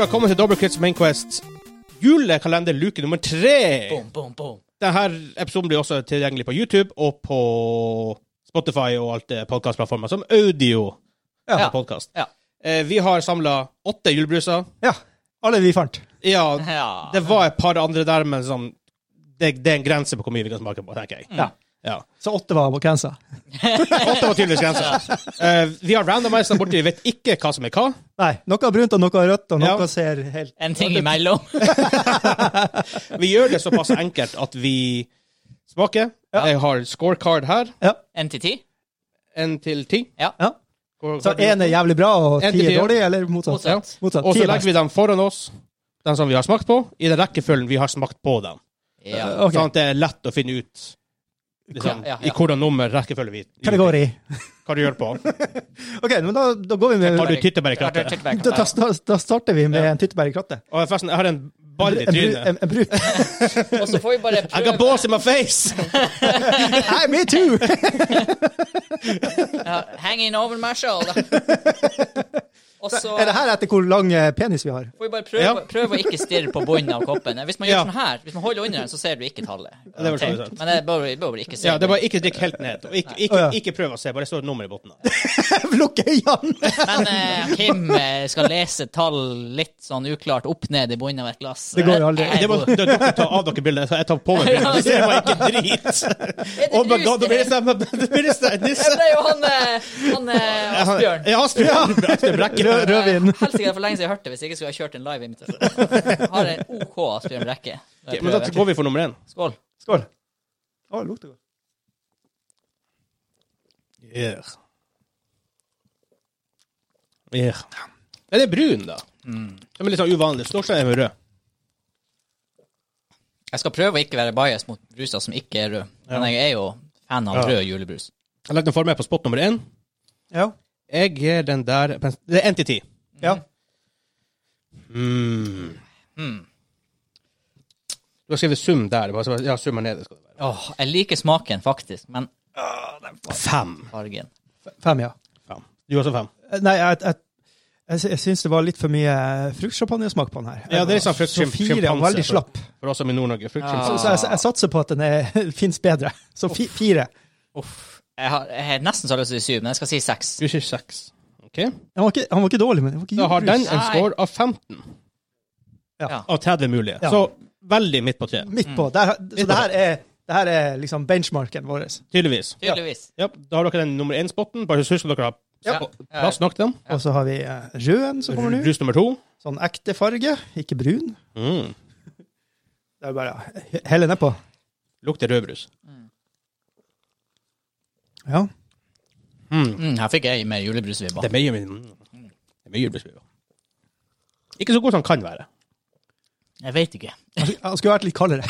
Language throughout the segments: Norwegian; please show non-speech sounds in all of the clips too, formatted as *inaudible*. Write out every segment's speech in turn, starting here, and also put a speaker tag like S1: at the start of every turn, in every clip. S1: velkommen til Double Crits Mainquest. Julekalender luke nummer tre.
S2: Boom, boom, boom.
S1: Denne episoden blir også tilgjengelig på YouTube og på Spotify og alt det podcastplattformer som audio.
S2: Ja.
S1: på podcast.
S2: Ja.
S1: Eh, vi har samla åtte julebruser.
S3: Ja. Alle vi fant.
S1: Ja,
S2: Ja.
S1: det var et par andre der, men sånn, det, det er en grense på hvor mye vi kan smake på, tenker jeg.
S3: Ja.
S1: Ja.
S3: Så åtte var på grensa.
S1: Åtte var tydeligvis
S3: *laughs*
S1: grensa. Eh, vi har randomized borti, vi vet ikke hva som er hva.
S3: Nei, noe er brunt og noe er rødt, og noe
S1: Ja.
S3: ser helt
S2: En ting imellom.
S1: Vi gjør det såpass enkelt at vi smaker.
S3: Ja.
S1: Jeg har scorecard her.
S3: Ja.
S2: En til ti.
S1: Én til ti.
S3: ja.
S1: Hvor-
S3: Så
S1: hvor-
S3: én er jævlig bra, og
S1: En til
S3: ti er
S1: ti, ja.
S3: dårlig, eller motsatt?
S1: Ja.
S2: Motsatt.
S3: Motsatt.
S1: Og
S3: Ti
S1: så
S3: er
S1: legger vi dem foran oss, den som vi har smakt på, i den rekkefølgen vi har smakt på dem.
S2: Ja.
S3: Ok.
S1: Sånn at det er lett å finne ut liksom,
S2: Ja, ja,
S1: i
S2: ja.
S1: hvordan nummer rekkefølge vi
S3: Kategori.
S1: Hva du gjør på.
S3: OK, men da, da går vi
S1: Har
S3: med
S1: du tyttebær i krattet?
S3: da, da, sta- da starter vi med en tyttebær i krattet.
S1: Og forresten, jeg har en ball i
S3: En, bru- *laughs*
S1: trynet.
S3: en, en brun
S2: Og så får vi bare
S1: I got
S2: prøve.
S1: balls in my
S3: *laughs*
S1: face!
S3: Nei, me too!
S2: Ja, hang in
S1: *laughs*
S2: over Marshall. Og så
S3: Er det her etter hvor lang eh, penis vi har? *laughs*
S2: får vi bare prøve,
S1: Ja.
S2: prøve å ikke stirre på bunnen av koppen. Hvis man
S1: Ja.
S2: gjør sånn her, hvis man holder under den, så ser du ikke tallet.
S1: Ja, det var sånn sant.
S2: Men det bør vi bør vi ikke se.
S1: Ja, det er bare ikke drikk helt ned. Og ikke, ikke,
S3: Å, ja.
S1: ikke prøv å se, bare det står et nummer i bunnen. av.
S3: Lukk øynene!
S2: Men eh, Kim eh, skal lese tall litt sånn uklart opp ned i bunnen av et glass.
S3: Det går jo aldri.
S2: Jeg er
S1: Det må
S2: god.
S1: dere ta av dere bildet, så jeg tar på meg bildet.
S2: *laughs*
S1: Det ser bare ikke drit.
S2: Er det
S1: Oh my
S2: lus
S1: god, det
S2: det
S1: blir
S2: her?
S1: sånn- *laughs* det blir sånn
S2: Ja,
S1: nisse.
S2: Det er jo han, eh, han eh, Asbjørn.
S1: Ja, Asbjørn. Asbjørn Brekke.
S3: Rød- Rødvin.
S2: Eh, *laughs* Helst ikke det er for lenge siden jeg hørte det, hvis jeg ikke skulle ha kjørt en live invitasjon. Har en OK Asbjørn Brekke. Det
S1: Men da
S2: prøver jeg.
S1: går vi for nummer én.
S2: Skål.
S3: Skål. Å, lukter godt.
S1: Yeah. Yeah. Den er brun, da.
S2: Mm.
S1: Som er litt sånn uvanlig. Stort sett er den rød.
S2: Jeg skal prøve å ikke være bias mot bruser som ikke er rød. Men jeg er jo fan av
S1: Ja.
S2: rød julebrus.
S1: Jeg legger den for meg på spot nummer én.
S3: Ja.
S1: Jeg gir den der Det er én til ti.
S3: ja.
S1: Mm. Du har skrevet sum der. Bare, så- ja, sum er nede. Skal det være.
S2: Åh, jeg liker smaken, faktisk, men
S1: Fem.
S2: fargen
S3: Fem, ja.
S1: fem. Du også fem.
S3: Nei, jeg, jeg, jeg, sy- jeg syns det var litt for mye fruktsjampanjesmak på den her.
S1: Ja, det er litt sånn frukt-
S3: Så fire og
S1: sjimpanse,
S3: veldig
S1: så-
S3: slapp.
S1: For oss som er i Nord-Norge. Frukt,
S2: Ja.
S3: Så,
S1: sjimpans.
S3: så jeg, jeg satser på at den er- *laughs* finnes bedre. Så fi, fire.
S2: Uff. Jeg har, jeg har nesten så lyst til å si syv, men jeg skal si seks.
S1: Du sier seks. OK.
S3: Han var ikke, han var ikke dårlig, men han var ikke
S1: Da har den
S3: julebrus.
S1: en
S2: Nei.
S1: score av 15.
S3: Ja.
S1: Av 30 mulige.
S3: Ja.
S1: Så veldig midt på tre.
S3: Midt på. Der,
S1: Mm. på
S3: så det her er, det her er liksom benchmarken vår.
S1: Tydeligvis.
S2: Tydeligvis.
S1: Ja, da har dere den nummer én-spotten. Bare husk at dere har
S2: Ja.
S1: plass nok til dem.
S3: Og så har vi eh, røden som kommer nå.
S1: Brus nummer to.
S3: Sånn ekte farge, ikke brun.
S1: Mm.
S3: Det er bare å helle nedpå.
S1: Lukter rødbrus.
S3: Ja.
S2: Mm, her fikk jeg mer julebrusvibber.
S1: Det er mye, mm. det er mye julebrus. Ikke så god som den kan være.
S2: Jeg vet ikke.
S3: Han skulle- Han skulle vært litt kaldere.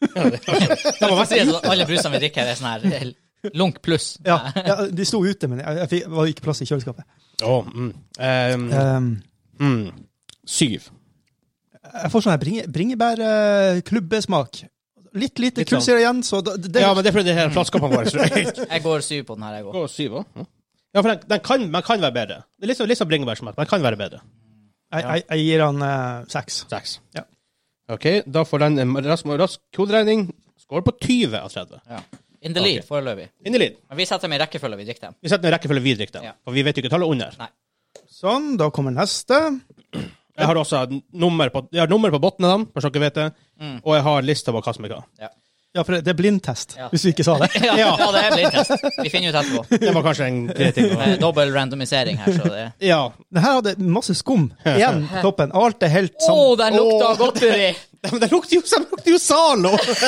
S1: Den var
S2: Hva sier
S1: verst.
S2: du? Alle brusene vi drikker, er sånn her eh, lunk pluss.
S3: Ja, ja, de sto ute, men jeg, jeg fikk, var ikke plass i kjøleskapet.
S1: Å, mm. Um,
S3: Um,
S1: mm. Syv.
S3: jeg får sånn her bringe, bringebærklubbesmak. Litt lite
S1: Litt sånn.
S3: kullsyre igjen, så det, det,
S1: Ja, men det er fordi det her flaskene våre tror jeg.
S2: Jeg går syv på den her, jeg òg.
S1: Gå syv også. Ja. Ja, for den, den kan, man kan være bedre. Det er litt sånn, litt sånn bringebærsmak. men Den kan være bedre.
S3: jeg, jeg, jeg gir han eh, seks.
S1: Seks.
S3: Ja.
S1: OK, da får den en rask, rask koderegning. Skår på 20 av 30.
S2: Ja. In the lead,
S1: Ok.
S2: foreløpig.
S1: Inn i lyd.
S2: Men vi setter dem i rekkefølge vi drikker dem.
S1: Vi setter den i rekkefølge vi drikker den,
S2: Ja.
S1: for vi vet jo ikke tallet under.
S2: Nei.
S3: Sånn, da kommer neste.
S1: Jeg har også n- nummer på, jeg har nummer på bunnen av dem, bare så dere vet det. Og jeg har lista på hva som er hva.
S2: Ja.
S3: Ja, for det, det er blindtest,
S2: Ja.
S3: hvis vi ikke sa det.
S2: Ja, ja, det er blindtest. Vi finner ut etterpå.
S1: Det var kanskje en grei ting. å-
S2: Med dobbel randomisering her, så det
S1: Ja.
S3: Det her hadde masse skum igjen på toppen. Alt er helt sånn.
S2: Å,
S3: sammen.
S2: den lukta godteri!
S1: Men det lukter jo, det lukter jo Zalo!
S3: Ja,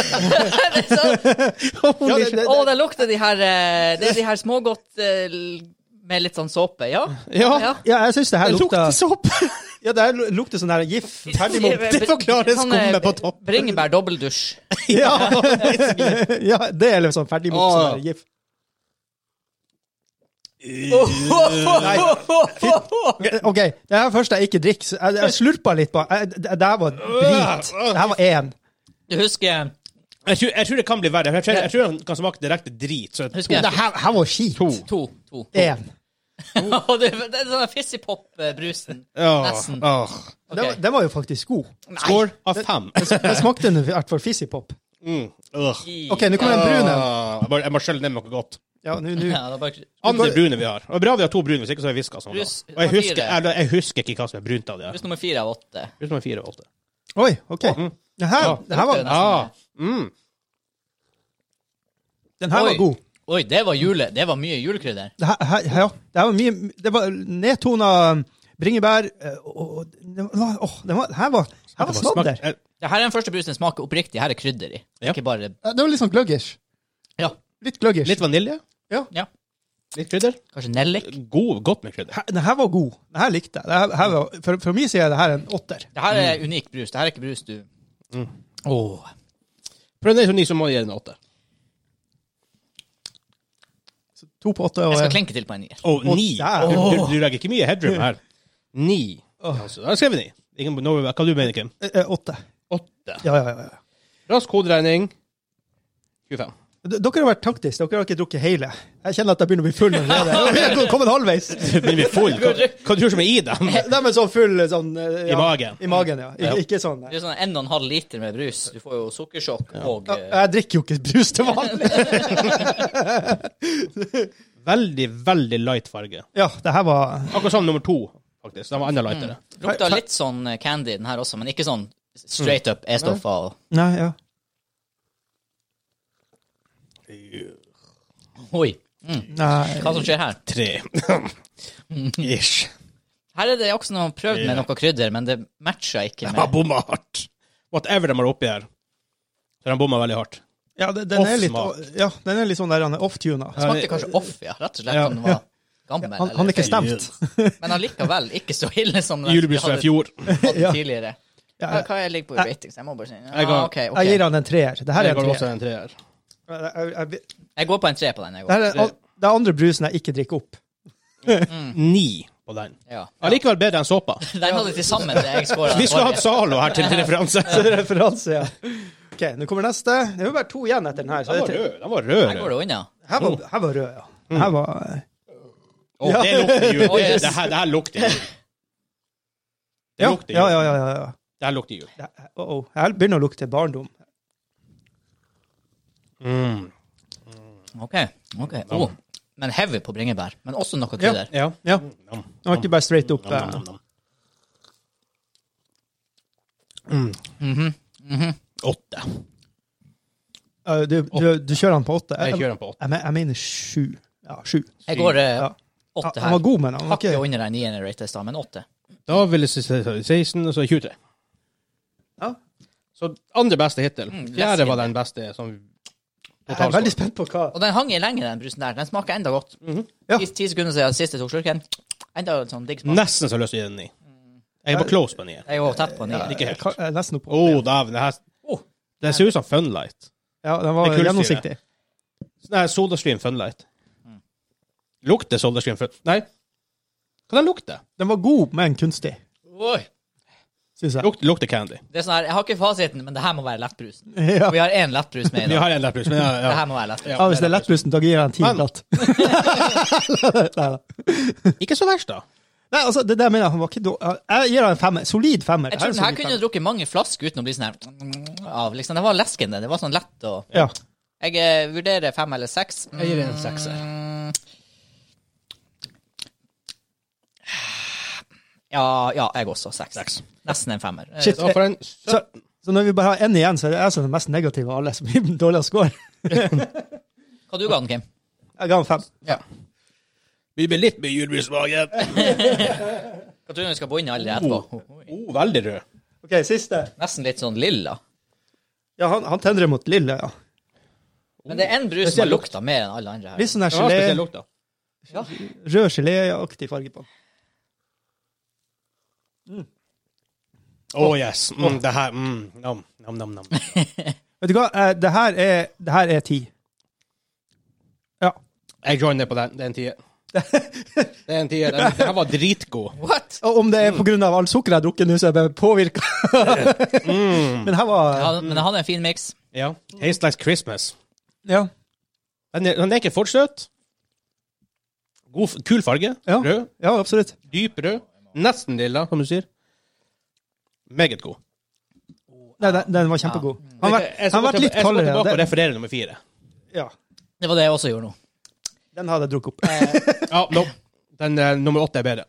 S3: det, det,
S2: Å, den lukter de her eh, Det er de her smågodt eh, med litt sånn såpe, ja?
S1: Ja.
S3: ja, jeg syns det her
S1: Det
S3: lukta
S1: lukter sånn. såpe!
S3: Ja, det her lu- lukter sånn der gif ferdig
S2: Sånn,
S3: mot
S1: Det forklarer skummet på topp.
S2: eh, Bringebær dobbeldusj.
S3: *laughs* Ja, *laughs* ja det er liksom ferdig mot sånn der gif. OK, det her første jeg ikke drikker. så Jeg, jeg slurpa litt på jeg, Det det her var drit. Det her var én.
S2: Du husker
S1: Jeg tror, jeg tror det kan bli verre. for Jeg tror, jeg tror han kan smake direkte drit. Så
S2: Husker jeg. *laughs*
S3: Det her, her var skit.
S1: to.
S2: to. to.
S3: Én.
S2: Og det, det er sånn fissipop-brusen.
S1: Åh,
S2: Nesten.
S1: åh.
S2: Ok.
S3: Den, var- den var jo faktisk god.
S2: Nei,
S1: Score av fem.
S3: Den smakte nå i hvert fall fissipop.
S1: Mm. Ugh.
S3: OK, nå kommer den brune.
S1: Åh, jeg bare- Jeg må skjølle ned med noe godt.
S3: Ja, nå, nå.
S2: Ja, det er bare
S1: Andre brune vi har. Og det er bra vi har to brune, hvis ikke så har jeg viska sånn. da.
S2: Brus-
S1: Og jeg husker,
S2: fire.
S1: jeg, jeg husker ikke hva som er brunt av det. her. Mm.
S2: Brus nummer fire av åtte.
S1: Brus nummer fire og åtte.
S3: Oi, OK. Den her, den her, var,
S2: Ja.
S1: Ah, mm.
S3: den her var
S2: Oi.
S3: god.
S2: Oi, det var jule. Det var mye julekrydder.
S3: Det her, her, ja, det her var mye Det var nedtona um, bringebær eh, og, og den var, åh, den var, her var, her var snadder.
S1: Smak- eh,
S2: Det her er den første brusen jeg smaker oppriktig. Her er krydder i.
S1: Ja.
S2: Ikke bare
S3: Ja, Det var litt sånn gløggish.
S2: Ja.
S3: Litt gløggish.
S1: Litt vanilje.
S2: ja.
S1: Litt krydder.
S2: Kanskje nellik.
S1: God, godt med krydder.
S3: Her- Den her var god. Den her likte jeg. Den Her, her var, for, for min side er det her en åtter.
S2: Det her
S3: Mm.
S2: er unik brus. Det her er ikke brus du Åh.
S1: Prøv den som ni, så må du gi den en åtte.
S3: To på åtte. Og,
S2: Jeg skal klenke til på en nier.
S1: Og
S3: Å,
S1: ni.
S3: der.
S1: Du, du, du legger ikke mye headroom her. *laughs* Ni. Altså, da skrev vi ni. Ingen, nå, hva du mener du, Kim?
S3: eh, eh, åtte.
S1: Åtte.
S3: Ja, ja, ja. ja.
S1: Rask koderegning. *laughs* 25.
S3: D- Dere har vært taktiske. Dere har ikke drukket hele. Jeg kjenner at jeg begynner å bli full allerede. Jeg har kommet halvveis.
S1: Men vi er full. Hva, hva tror du som er i dem?
S3: De er sånn full sånn eh,
S1: I
S3: ja,
S1: magen.
S3: I magen, ja.
S1: Ja.
S3: Ikke, ikke sånn.
S2: Det er sånn en og en halv liter med brus. Du får jo sukkersjokk og
S3: Ja,
S2: eh,
S3: Jeg drikker jo ikke brus til vanlig.
S1: Veldig, veldig light farge.
S3: Ja, det her var
S1: Akkurat som nummer to, faktisk. Den var enda lightere.
S2: Lukta litt sånn eh, candy, den her også, men ikke sånn straight up E-stoffa. og-
S3: Nei, Mm. ja.
S2: Oi. Mm.
S3: Nei.
S2: Hva som skjer her?
S3: *laughs*
S1: Tre. Ish.
S2: Her er det også noe prøvd med
S1: Ja.
S2: noe krydder, men det matcha ikke
S1: De har
S2: med
S1: bomma hardt. Whatever de har oppi her, så har de bomma veldig hardt.
S3: Ja, den, den, er litt,
S1: Off-smak.
S3: ja, den er litt sånn der han er off-tuna.
S2: Smakte kanskje off, ja. Rett og slett
S1: Ja.
S2: som den var gammel.
S3: Han, han er ikke
S2: eller-
S3: stemt.
S2: Men allikevel ikke så ille som den
S1: Julebrus fra i fjor.
S2: hadde
S3: Ja.
S2: tidligere.
S3: Ja,
S2: Hva
S3: jeg,
S2: hva jeg ligger på i ratings? Jeg må bare si
S1: Jeg ga-
S2: ah, ok, ok.
S3: jeg gir han en treer. Det her
S1: Jeg
S3: er
S1: går
S3: en
S1: også
S3: treer.
S1: en treer.
S3: Jeg- jeg- jeg- Det
S2: Jeg går på en tre på den. jeg går.
S3: her er al- det er andre brusen jeg ikke drikker opp. Mm.
S1: Ni på den.
S2: Ja.
S1: Allikevel bedre enn
S3: *laughs*
S1: såpa.
S2: Den hadde til sammen det jeg skåra.
S1: Vi skulle hatt Zalo her til, til referanse.
S3: Så *laughs* det er referanse, ja. Ok, nå kommer neste. Det er jo bare to igjen etter den her. Mm. Så
S1: Den
S3: det
S1: var
S3: er tre.
S1: rød. Den var rød.
S2: Her går
S1: rød.
S2: det unna.
S3: Her var, her var rød, ja. Her var eh,
S1: Å, det lukter
S3: *laughs*
S1: jul.
S3: Oh,
S2: Å,
S1: Det,
S2: yes.
S1: det, her, det her lukter jul. Det
S3: Ja,
S1: lukter jul.
S3: ja, ja. ja, ja, ja.
S1: Det her lukter jul.
S3: Det her- oh, oh. Her begynner å lukte barndom. Mm.
S2: Ok, ok. Oh. Men heavy på bringebær. Men også noe krydder.
S1: Ja.
S3: Ja,
S1: Nam,
S3: nå var ikke bare straight opp.
S1: nam, nam,
S3: eh.
S1: nam.
S2: Mhm.
S1: Åtte.
S3: Eh, Du, du, du kjører han på åtte?
S1: Jeg kjører den på åtte.
S3: Jeg, men- jeg mener sju. Ja, sju.
S2: Jeg går eh,
S3: Ja. Han,
S2: åtte
S3: han var
S2: her.
S3: god, men han var
S2: Hakket
S3: ikke
S2: under en niende rate i stad, men åtte.
S1: Da vil jeg si 16, og så 23.
S3: Ja.
S1: Så andre beste hittil.
S2: Mm,
S1: Fjerde var
S2: nesten.
S1: den beste som
S3: Jeg er veldig spent på hva
S2: Og den hang i lenger, den brusen der. Den smaker enda godt.
S3: Mhm. Ja.
S2: Ti, ti sekunder siden sist jeg tok slurken. Enda en sånn digg smak.
S1: Nesten så har jeg lyst til å gi den ni. Jeg er på close på nier.
S2: Jeg var tett på en nier.
S1: Ikke helt.
S3: Ka- eh, Nesten oppå.
S1: Å, dæven. Det, her-
S2: Oh.
S1: det ser ut som Funlight.
S3: Ja, den
S1: Det
S3: var
S1: er kullsyre.
S3: gjennomsiktig.
S1: Nei, Sodastream Funlight. Lukter Sodastream Funlight Nei. Hva den lukter?
S3: Den var god, men kunstig,
S2: Oi.
S3: syns jeg.
S1: Lukter, lukter candy.
S2: Det er sånn her, Jeg har ikke fasiten, men det her må være lettbrusen.
S3: *laughs* Ja.
S2: Vi har én lettbrus
S3: *laughs*
S2: med i
S1: Vi
S2: dag.
S1: har en lettbrus, men ja,
S2: Det
S1: ja.
S2: her må være lettbrus.
S3: Ja, hvis det er lettbrusen, da gir jeg en ti
S1: Men-
S3: glatt. *laughs* Neida.
S1: ikke så verst, da.
S3: Nei, altså, det der mener jeg, han var ikke dårlig. Jeg gir han en femmer. Solid femmer.
S2: Jeg tror
S3: Det
S2: den
S3: er
S2: her
S3: en solid
S2: kunne du drukket mange flasker uten å bli sånn her av, liksom. Det var leskende. Det var sånn lett å
S3: femmer. Ja.
S2: Jeg eh, vurderer fem eller seks.
S1: Jeg gir en sekser.
S2: Mm. Ja, ja, jeg også. Seks.
S1: Seks.
S2: Nesten en femmer. Eh,
S3: Shit.
S1: Da får den
S3: Så, så når vi bare har én igjen, så er det jeg som er den mest negative av alle, som gir den dårligst score. *laughs*
S2: Eh, Hva du ga den, Kim?
S3: Jeg ga han fem.
S1: Vi blir litt mye julebrus i magen.
S2: Hva tror du vi skal begynne allerede etterpå?
S1: Oh, veldig rød.
S3: OK, siste.
S2: Nesten litt sånn lilla.
S3: Ja, han, han tendrer mot lille, ja.
S2: Men det er én brus som har lukta mer enn alle andre her.
S3: Litt sånn der
S1: Den har spesiell
S3: gelé,
S1: lukt, da.
S3: rød geléaktig farge på den.
S1: Å, yes. Mm, det her mm, Nam, nam, nam. nam.
S3: Vet du hva, Eh, det her er, det her er ti. Ja.
S1: Jeg joiner på den. Det er en
S3: *laughs*
S1: tier. Det er en tier. Den, den her var dritgod.
S2: What?
S3: Og om det
S1: Mm.
S3: er pga. all sukkeret jeg har drukket nå, så er jeg
S1: *laughs*
S3: påvirka.
S1: Mm.
S3: Men her var
S2: Ja, men han hadde en fin miks.
S1: Ja. Tastes like Christmas.
S3: Ja.
S1: Den er, den er ikke for søt. God, f- kul farge.
S3: Ja.
S1: Rød.
S3: Ja, absolutt.
S1: Dyp rød. Nesten lilla, som du sier. Meget god.
S3: Nei, den, den var kjempegod. Han har vært-
S1: Jeg
S3: han
S1: skal
S3: har vært
S1: tilba-
S3: litt
S1: jeg skal
S3: kaldere.
S1: tilbake og
S3: Den,
S1: referere nummer fire.
S3: ja,
S2: Det var det jeg også gjorde nå.
S3: den hadde jeg drukket
S1: *laughs*
S3: opp.
S1: Ja, no. Den eh, nummer åtte er bedre.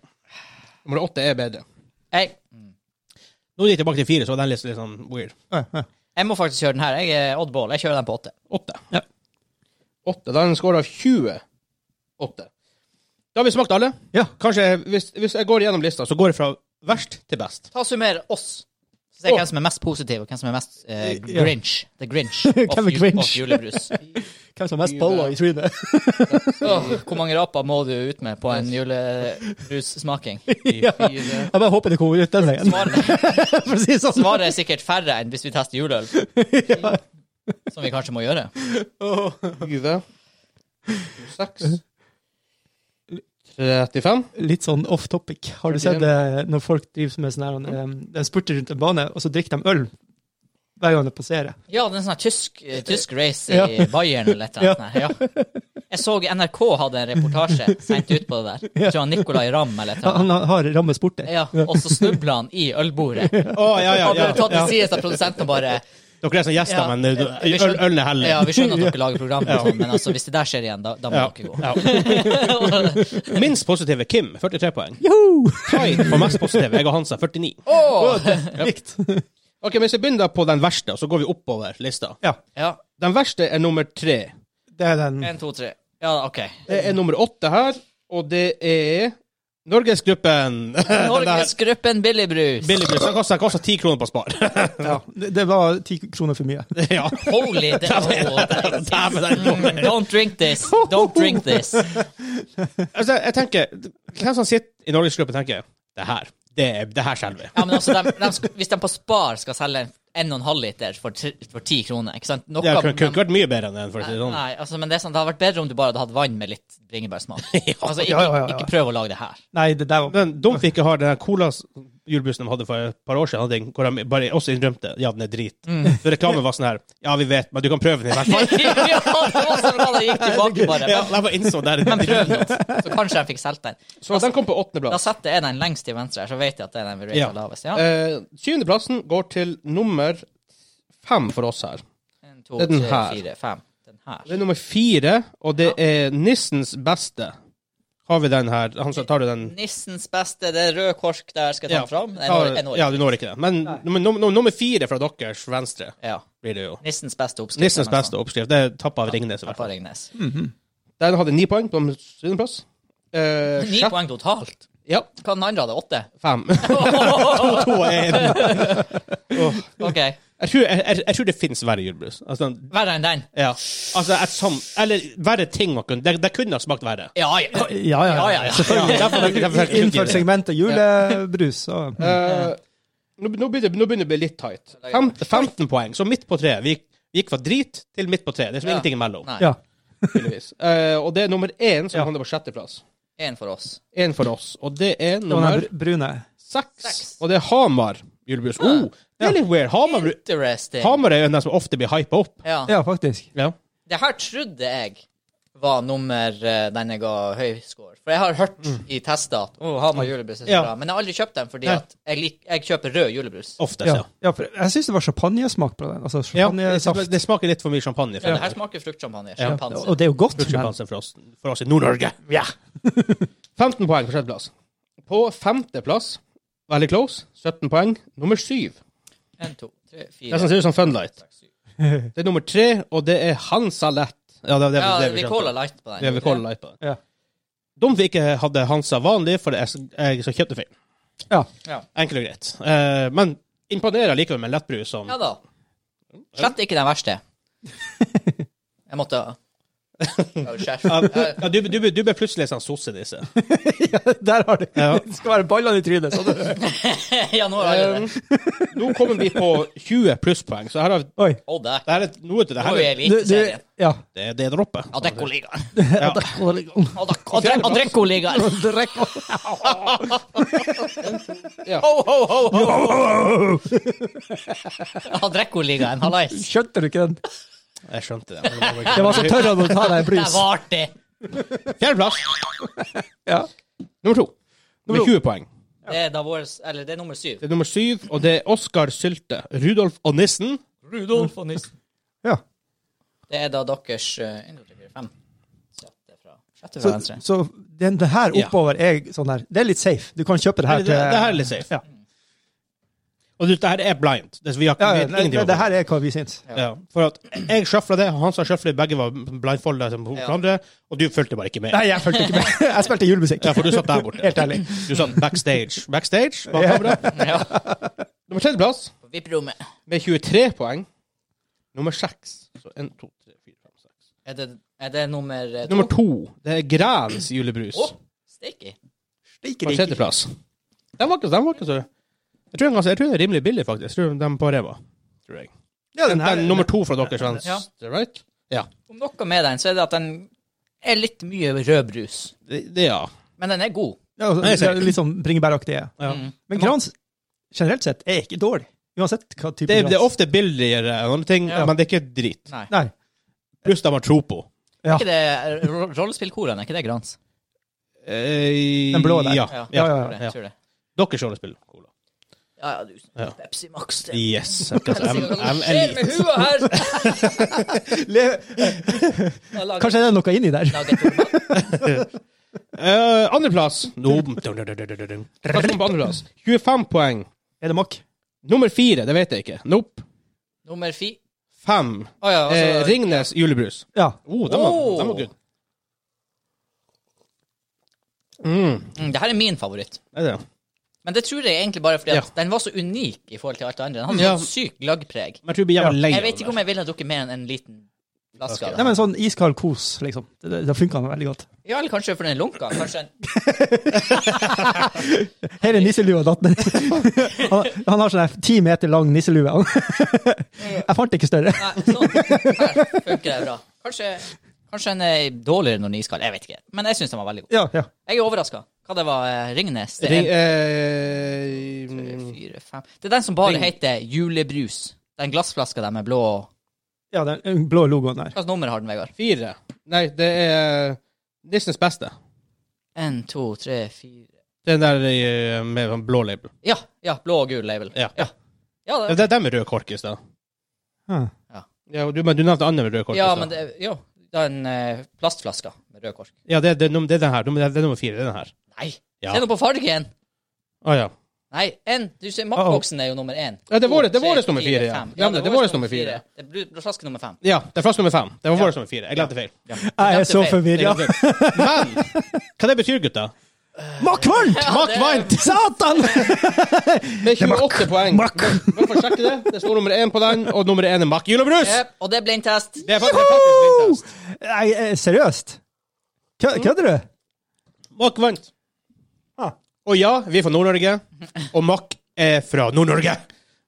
S1: Nummer åtte er bedre.
S2: *laughs* Jeg,
S1: Nå gikk jeg tilbake til fire, så var den litt, litt sånn weird.
S3: Ja, ja.
S2: jeg må faktisk kjøre den her. Jeg er oddball. Jeg kjører den på åtte.
S1: Åtte. Åtte. Da er det en score av 20. Åtte. Da har vi smakt alle.
S3: Ja.
S1: Kanskje, hvis, hvis jeg går gjennom lista, så går jeg fra verst til *laughs* best.
S2: Ta og Summer oss. Så Se
S1: Å.
S2: hvem som er mest positiv, og hvem som er mest eh,
S3: Ja.
S2: grinch. The grinch
S3: *laughs* Hvem
S2: of,
S3: er
S2: ju-
S3: grinch?
S2: of julebrus.
S3: *laughs* Hvem som har mest boller i trynet?
S2: Åh, hvor mange raper må du ut med på en
S3: *laughs*
S2: julebrussmaking?
S3: Ja. Jeg bare håper det kommer ut den veien. *laughs*
S2: Svaret,
S3: For å si det sånn.
S2: svaret er sikkert færre enn hvis vi tester
S1: *laughs*
S2: juleøl. Som vi kanskje må gjøre.
S1: 20. 6. 35.
S3: Litt sånn off topic. Har du sett eh, når folk driver med sånn her eh, De spurter rundt en bane, og så drikker de øl hver gang de passerer.
S2: Ja, det er en sånn her tysk, eh, tysk race i
S3: Ja.
S2: Bayern eller et eller annet. sånt her, Ja. Jeg så NRK hadde en reportasje sendt ut på det der. Jeg tror han Nicolay Ramm eller et eller annet.
S3: Han har rammet sporter.
S2: Ja, og så snubla han i ølbordet.
S1: Å, ja, ja,
S2: Han
S1: ja.
S2: ble tatt
S1: ja.
S2: til side av produsenten og bare
S1: Dere er som gjester,
S2: Ja.
S1: men eh,
S2: Vi
S1: øl,
S2: skjønner-
S1: ølen heller.
S2: Ja, vi skjønner at dere lager program, og sånn, men altså, hvis det der skjer igjen, da, da må dere gå.
S1: Minst positive Kim, 43 poeng.
S3: Joho!
S1: Kai på mest positive. Jeg og Hansa, 49.
S2: *laughs* Åh!
S3: Likt.
S1: Ok, men Hvis vi begynner på den verste, og så går vi oppover lista.
S3: *laughs* Ja.
S2: Ja.
S1: Den verste er nummer tre.
S3: Det er den.
S2: En, to, tre. Ja, OK.
S1: Det er nummer åtte her, og det er Norgesgruppen. *laughs*
S2: Norgesgruppen Billigbrus.
S1: Billigbrus. Den koster- Den koster ti kroner på Spar. *laughs*
S3: Ja. Det det var ti kroner for mye.
S1: ja.
S2: Holy *laughs* da- åh.
S1: Dæven, den er dum.
S2: Mm, Don't drink this. Don't drink this.
S1: Altså, jeg tenker Hvem som sitter i Norgesgruppen, tenker Det her. Det, er- det her skjelver vi.
S2: Ja, men altså, dem- dem sk- hvis de på Spar skal selge en og en halv liter for, tri- for ti kroner, ikke sant Noe
S1: Det
S2: av
S1: kunne kunne
S2: dem-
S1: ikke vært mye bedre enn den, for å si det sånn.
S2: Nei, altså, men det er sånn, det hadde vært bedre om du bare hadde hatt vann med litt
S1: *laughs*
S2: bringebærsmak. Altså, ikke,
S3: Ja, ja, ja, ja.
S2: ikke prøv å lage det her. *laughs*
S3: Nei, det der var
S1: Men dumt vi ikke har den cola-julebrusen de hadde for et par år siden, hadde en- hvor de bare også innrømte ja, den er drit. Så reklamen var sånn her Ja, vi vet, men du kan prøve den i hvert
S2: *laughs*
S1: fall.
S2: ja, det var så bra da jeg gikk tilbake, bare.
S1: Ja, jeg bare innså det.
S2: Men prøv nå, så kanskje de fikk solgt den.
S1: Så den kom på
S2: Da
S1: åttendeplass.
S2: setter jeg den lengst til venstre, her, så vet jeg at det er den vi rater
S1: Ja.
S2: lavest. Ja.
S1: Eh, Syvendeplassen går til nummer fem for oss her.
S2: En, to,
S1: det er den
S2: tre,
S1: her.
S2: fire, fem. Den her.
S1: Det er nummer fire, og det er Nissens beste. Har vi den her? Han sa, tar du den?
S2: Nissens beste, det er rød kork der, skal jeg ta den fram? Jeg når, jeg
S1: Ta-
S2: når.
S1: ja, du når ikke det. Men nummer, nummer, nummer fire fra deres venstre
S2: Ja.
S1: blir det jo.
S2: Nissens beste oppskrift.
S1: Nissens
S2: kan man
S1: beste oppskrift. Det er tappa av Ringnes. i
S2: si.
S1: hvert
S2: Pappa
S1: fall.
S2: Ringnes.
S1: Den hadde ni poeng på syvendeplass. Eh,
S2: Ni
S1: sjette-
S2: poeng totalt.
S1: Ja,
S2: Hva den andre hadde? Åtte?
S1: fem. to, *laughs* to og én.
S2: *laughs* OK.
S1: Jeg, tror- jeg, jeg, jeg tror det finnes verre julebrus. Altså, den-
S2: Verre enn den?
S1: ja. altså et som, Eller verre ting man kunne Det, det kunne ha smakt verre.
S2: Ja, ja.
S3: Ja, ja.
S2: Ja,
S3: ja.
S2: ja, ja.
S1: Derfor- derfor- derfor-
S3: Innført segmentet julebrus. Så. Mm.
S1: Eh, nå, nå, begynner, nå begynner det å bli litt tight. Fem, 15 poeng, så midt på treet. Vi gikk, vi gikk fra drit til midt på treet. Det er som
S2: Ja.
S1: ingenting imellom.
S2: Nei.
S3: Ja.
S1: tydeligvis. Eh, og det er nummer én som havner på sjetteplass.
S2: Én for oss.
S1: Én for oss. Og det er
S3: Den
S1: nummer
S3: her brune.
S1: seks.
S2: Seks.
S1: Og det er Hamar julebrus. Oh, det er litt weird. Hamar,
S2: Interesting.
S1: Hamar er jo den som ofte blir hypa opp.
S2: Ja.
S3: Ja, faktisk.
S1: Ja.
S2: Det her trodde jeg var nummer eh, den jeg ga høy score. For jeg har hørt i tester at oh, Hamar julebrus er så
S1: Mm. Ja.
S2: bra. Men jeg har aldri kjøpt den, fordi
S1: Nei.
S2: at jeg, lik, jeg kjøper rød julebrus.
S1: Oftest,
S3: Ja.
S1: ja.
S3: ja for jeg syns det var champagnesmak på den. Altså
S1: ja. det,
S3: champagnesaft.
S1: det smaker litt for mye champagne. For
S2: Men
S1: ja.
S2: det her smaker fruktsjampanje. Sjampanse.
S3: Og det er jo godt. Men,
S1: Fruktsjampanse for, oss- for oss i Nord-Norge. *laughs*
S3: ja.
S1: 15 poeng på sjetteplass. På femteplass, veldig close, 17 poeng, nummer syv.
S2: En, to, tre, fire,
S1: Nesten ser ut sånn som Funlight.
S2: seks, syv.
S1: *laughs* Det er nummer tre, og det er Hansa Lett. Ja, det, det,
S2: Ja,
S1: det
S2: vi
S1: skjønte.
S2: caller light på
S1: Det er
S2: den.
S1: vi caller Light på.
S3: Ja.
S1: Dumt vi ikke hadde Hansa vanlig, for det er så- jeg som kjøpte feil.
S3: Ja.
S1: Enkelt og greit. Eh, men imponerer likevel med lettbrus som
S2: Mm. Ja da. Slett ikke den verste. Jeg måtte Ja, skjerf. Ja,
S1: Ja, du, du, du, ble plutselig sånn sossenisse.
S3: *laughs* Der har du
S1: Ja.
S3: Det skal være ballene i trynet. Så du.
S2: Ja, nå har jeg
S1: Eh,
S2: det.
S1: nå kommer vi på 20 plusspoeng, så her har vi
S3: Oi.
S2: Å, der.
S1: det her er noe til det
S2: Nå
S1: her.
S2: er vi i
S1: er-
S3: Du, du,
S2: eliteserien.
S3: ja.
S1: Det, er- det er droppet.
S2: Ja, Dekko-ligaen.
S1: Ja.
S3: *laughs*
S2: Ja, Dekko- og Dre- og Drekko-ligaen. Ho, ho, ho, ho, ho. Ja, Drekko-ligaen. Hallais.
S3: Skjønte du ikke den?
S1: Jeg skjønte *laughs* det.
S3: Det var så tørr av å ta
S2: Der
S3: deg en brus.
S2: var det.
S1: Fjerdeplass.
S3: Ja.
S1: Nummer to. Med
S3: Nummer
S1: 20 poeng.
S2: Det er da vår Eller det er nummer syv.
S1: Det er nummer syv, og det er Oskar Sylte, Rudolf og Nissen.
S2: Rudolf og Nissen.
S3: Ja.
S2: Det er da deres eh, en, to, tre, fire, fem. Sjette fra, sjette fra
S3: Så,
S2: venstre.
S3: så den, den her
S1: Ja.
S3: oppover er sånn her Det er litt safe. Du kan kjøpe det her
S1: Det, det, det her er litt safe.
S3: Ja.
S1: Og du, det her er blind. Det, vi har ikke
S3: Ja,
S1: vi
S3: ja,
S1: vet
S3: nei,
S1: ingenting
S3: det,
S1: om
S3: det her er hva vi syns.
S1: Ja, for at jeg sjøfla det, og han sa sjøfla det, begge var blindfolda som på
S2: Ja.
S1: hverandre, og du fulgte bare ikke med.
S3: Nei, jeg fulgte ikke med. *laughs* Jeg spilte julemusikk.
S1: Ja, for du satt der *laughs* borte.
S3: Helt ærlig.
S1: Du satt backstage. Backstage bak kamera.
S2: Ja.
S1: Nummer tredjeplass
S2: På VIP-rommet.
S1: med 23 poeng. Nummer seks. Så en, to, tre, fire, fem, seks.
S2: Er, det- er det nummer eh, to?
S1: Nummer to, det er Grans julebrus.
S2: Å, sticky.
S1: På tredjeplass. Den var ikke den var ikke så jeg tror, den, altså, jeg tror den er rimelig billig, faktisk. Jeg tror den på Reva. Tror jeg.
S3: Ja,
S1: Den,
S3: den her,
S1: den nummer to fra deres venn.
S2: Ja.
S1: Right? Ja.
S2: Om noe med den, så er det at den er litt mye rødbrus.
S1: Det, det, ja.
S2: Men den er god.
S3: ja, altså,
S1: Nei, jeg ser.
S3: litt sånn bringebæraktig. ja.
S1: ja.
S2: Mm.
S3: Men Grans generelt sett er ikke dårlig. Uansett hva type
S1: Det, det er
S3: Grans.
S1: ofte billigere enn andre ting,
S2: Ja.
S1: men det er ikke drit.
S2: Nei.
S3: Nei.
S1: Pluss de har tro på.
S2: Er
S3: Ja.
S2: ikke det ro- rollespillkorene? Er ikke det Grans?
S1: Eh,
S3: Den blå der.
S1: Ja. ja.
S3: Ja,
S2: tror det,
S1: ja.
S2: tror det.
S1: Dere skal spille cola.
S2: Ja, ja, du.
S1: Ja.
S2: Pepsi Max. det.
S1: *laughs* Yes. Jeg,
S2: Hva
S1: jeg,
S2: skjer med huet her?
S3: Le-
S2: Jeg lager-
S3: Kanskje det er noe inni der.
S2: lager tomat.
S1: Eh, Andreplass no. Hva kom på andreplass? 25 poeng.
S3: *laughs* Er det makk?
S1: Nummer fire, det vet jeg ikke. Nope.
S2: Nummer fi...
S1: Fem.
S2: Å ja,
S1: Eh,
S2: altså-
S1: Ringnes julebrus.
S3: Ja.
S1: Oh, den var,
S2: Oh.
S1: den var good. Mm,
S2: Mm, det her er min favoritt.
S1: er det.
S2: Men det tror jeg egentlig bare fordi at
S1: Ja.
S2: den var så unik i forhold til alt det andre. Den hadde
S1: Ja.
S2: sånn sykt glaggpreg.
S1: Men jeg tror vi er jævla lei
S2: Jeg
S1: av
S2: vet ikke
S1: det.
S2: om jeg ville ha drukket mer enn en liten flaske. av
S3: Nei,
S2: det.
S3: men sånn iskald kos, liksom. Det, det, det funka veldig godt.
S2: Ja, eller kanskje for den lunka. Kanskje en
S3: Her er nisselua datt ned. *laughs* Han, han har sånn her ti meter lang nisselue. *laughs* Jeg fant ikke større.
S2: Nei, sånn. Her funker det bra. Kanskje, kanskje en er dårligere når den er iskald. Jeg vet ikke. Men jeg syns den var veldig god.
S3: Ja, ja.
S2: Jeg er overraska. Hva det var eh, Ringnes? Det
S1: Ring,
S2: er, en,
S1: eh,
S2: tre, fire, fem. det er den som bare
S1: Ring-
S2: heter julebrus. Den glassflaska der med blå
S3: ja den blå logoen der.
S2: Hva slags nummer har den, Vegard?
S1: fire. Nei, det er Nissens beste.
S2: En, to, tre, fire
S1: Den der eh, med sånn blå label.
S2: Ja, ja, blå og gul label.
S1: Ja.
S2: Ja,
S1: Ja,
S2: ja, det,
S1: det er den med rød kork i sted.
S3: Ja.
S1: Ja, og du, men du nevnte andre med rød kork.
S2: ja
S1: i sted.
S2: men det, jo, den eh, plastflaska med rød kork.
S1: Ja, det, det, er num- det er den her. Nummer- Det er nummer fire. Det er den her.
S2: Nei,
S1: Ja.
S2: se nå på fargen!
S1: Å ja.
S2: Nei, en, du ser maktboksen er jo nummer én.
S1: Ja, det er
S2: To,
S1: våre- det er
S2: tre,
S1: våres nummer fire, ja.
S2: fem.
S1: Glem det, det er våres nummer fire.
S2: Det er bl- blå flaske nummer fem.
S1: ja. Det er flaske nummer fem. Det var
S2: Ja.
S1: vår nummer fire. Jeg glemte feil.
S3: Jeg er så
S1: Jeg *laughs*
S3: forvirra.
S1: glemte feil. Men hva det betyr, gutta?
S3: Makk varmt!
S1: *laughs*
S2: Ja,
S1: Mack
S2: det-
S1: vant!
S3: Satan!
S1: Med 28 poeng.
S3: Mack.
S1: Bare for å sjekke det. Det står nummer én på den, og nummer én er Mack julebrus.
S2: Jep, og det er blindtest.
S1: Det er faktisk, det er faktisk min test.
S3: Nei, eh, seriøst? Kø- Kødder du?
S1: Mack vant.
S3: Ah.
S1: Og ja, vi er fra Nord-Norge, og Mack er fra Nord-Norge.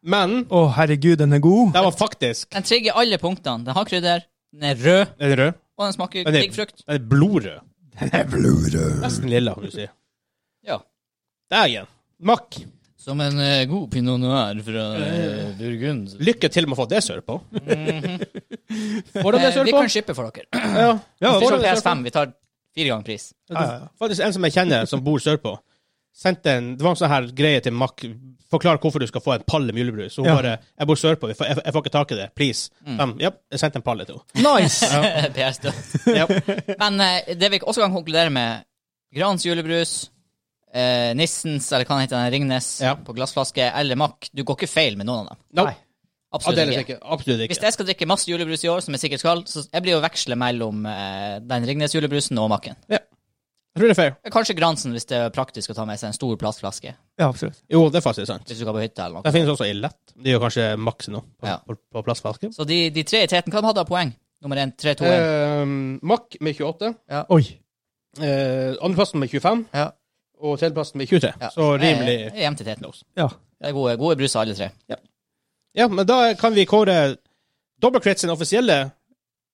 S1: Men
S3: Å, herregud, den er god.
S1: det var faktisk
S2: Den trigger alle punktene. Den har krydder, den er rød,
S1: Er det rød?
S2: og den smaker
S1: Den er-
S2: piggfrukt.
S1: Den er blodrød.
S3: Blodrød.
S1: Nesten lilla, kan du si.
S2: Ja.
S1: Dægen. Mack,
S2: Som en eh, god pinot noir fra eh, Burgund.
S1: lykke til med å få det sørpå. Får de det
S2: Mhm. Eh, vi
S1: sørpå?
S2: kan shippe for dere.
S1: Ja.
S3: Ja,
S2: Vi
S1: Får
S2: får
S1: de det sørpå?
S2: PS5, vi tar fire ganger pris. *laughs*
S3: Ja, ja, ja.
S1: Faktisk en som jeg kjenner, som bor sørpå, sendte en Det var en sånn her greie til Mack. Forklar hvorfor du skal få en palle med julebrus. Så Hun
S3: Ja.
S1: bare 'Jeg bor sørpå, jeg, får- jeg, jeg får ikke tak i det. Please.'
S2: Mm.
S1: Um, ja, jeg sendte en palle til
S3: *laughs*
S1: henne.
S3: Nice!
S2: PR-støtt.
S1: Ja.
S2: Men eh, det vi også kan konkludere med Grans julebrus, eh, Nissens, eller hva den heter, den, Ringnes
S1: Ja.
S2: på glassflaske, eller Mack. Du går ikke feil med noen av dem.
S1: No,
S3: Nei.
S1: Absolutt
S2: Absolutt ikke.
S1: liksom ikke. Absolutt
S2: Hvis
S1: ikke.
S2: jeg skal drikke masse julebrus i år, som jeg sikkert skal, så jeg blir jo å veksle mellom eh, den Ringnes-julebrusen og Macken.
S1: Jeg tror det er fair.
S2: Kanskje Gransen, hvis det er praktisk å ta med seg en stor plastflaske
S3: Ja, absolutt.
S1: Jo, det er faktisk sant.
S2: hvis du skal på hytta eller noe.
S1: Det finnes også i lett. Det gjør kanskje maks nå, på,
S2: Ja.
S1: på, på plastflaske.
S2: Så de, de tre i teten, hva de hadde av poeng? Nummer én, tre, to, én.
S1: Um, Mack med 28.
S3: Oi.
S1: eh, Andreplassen med 25.
S2: Ja.
S1: Og tredjeplassen med 23.
S2: Ja.
S1: Så
S2: Det er-
S1: rimelig
S2: det Eh, er Jevnt i teten.
S3: Ja.
S2: Det er gode, gode bruser, alle tre.
S1: Ja, men da kan vi kåre Dobbeltkrets sin offisielle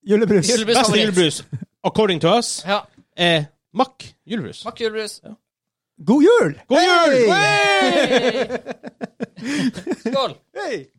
S3: Julebrus.
S2: Julebrus
S1: beste
S2: favoritt.
S1: julebrus, according to us,
S2: Ja.
S1: er Mack julebrus.
S2: Eh, Mack julebrus.
S3: God jul!
S1: God jul!
S3: Hei!
S2: Skål!
S3: Hei!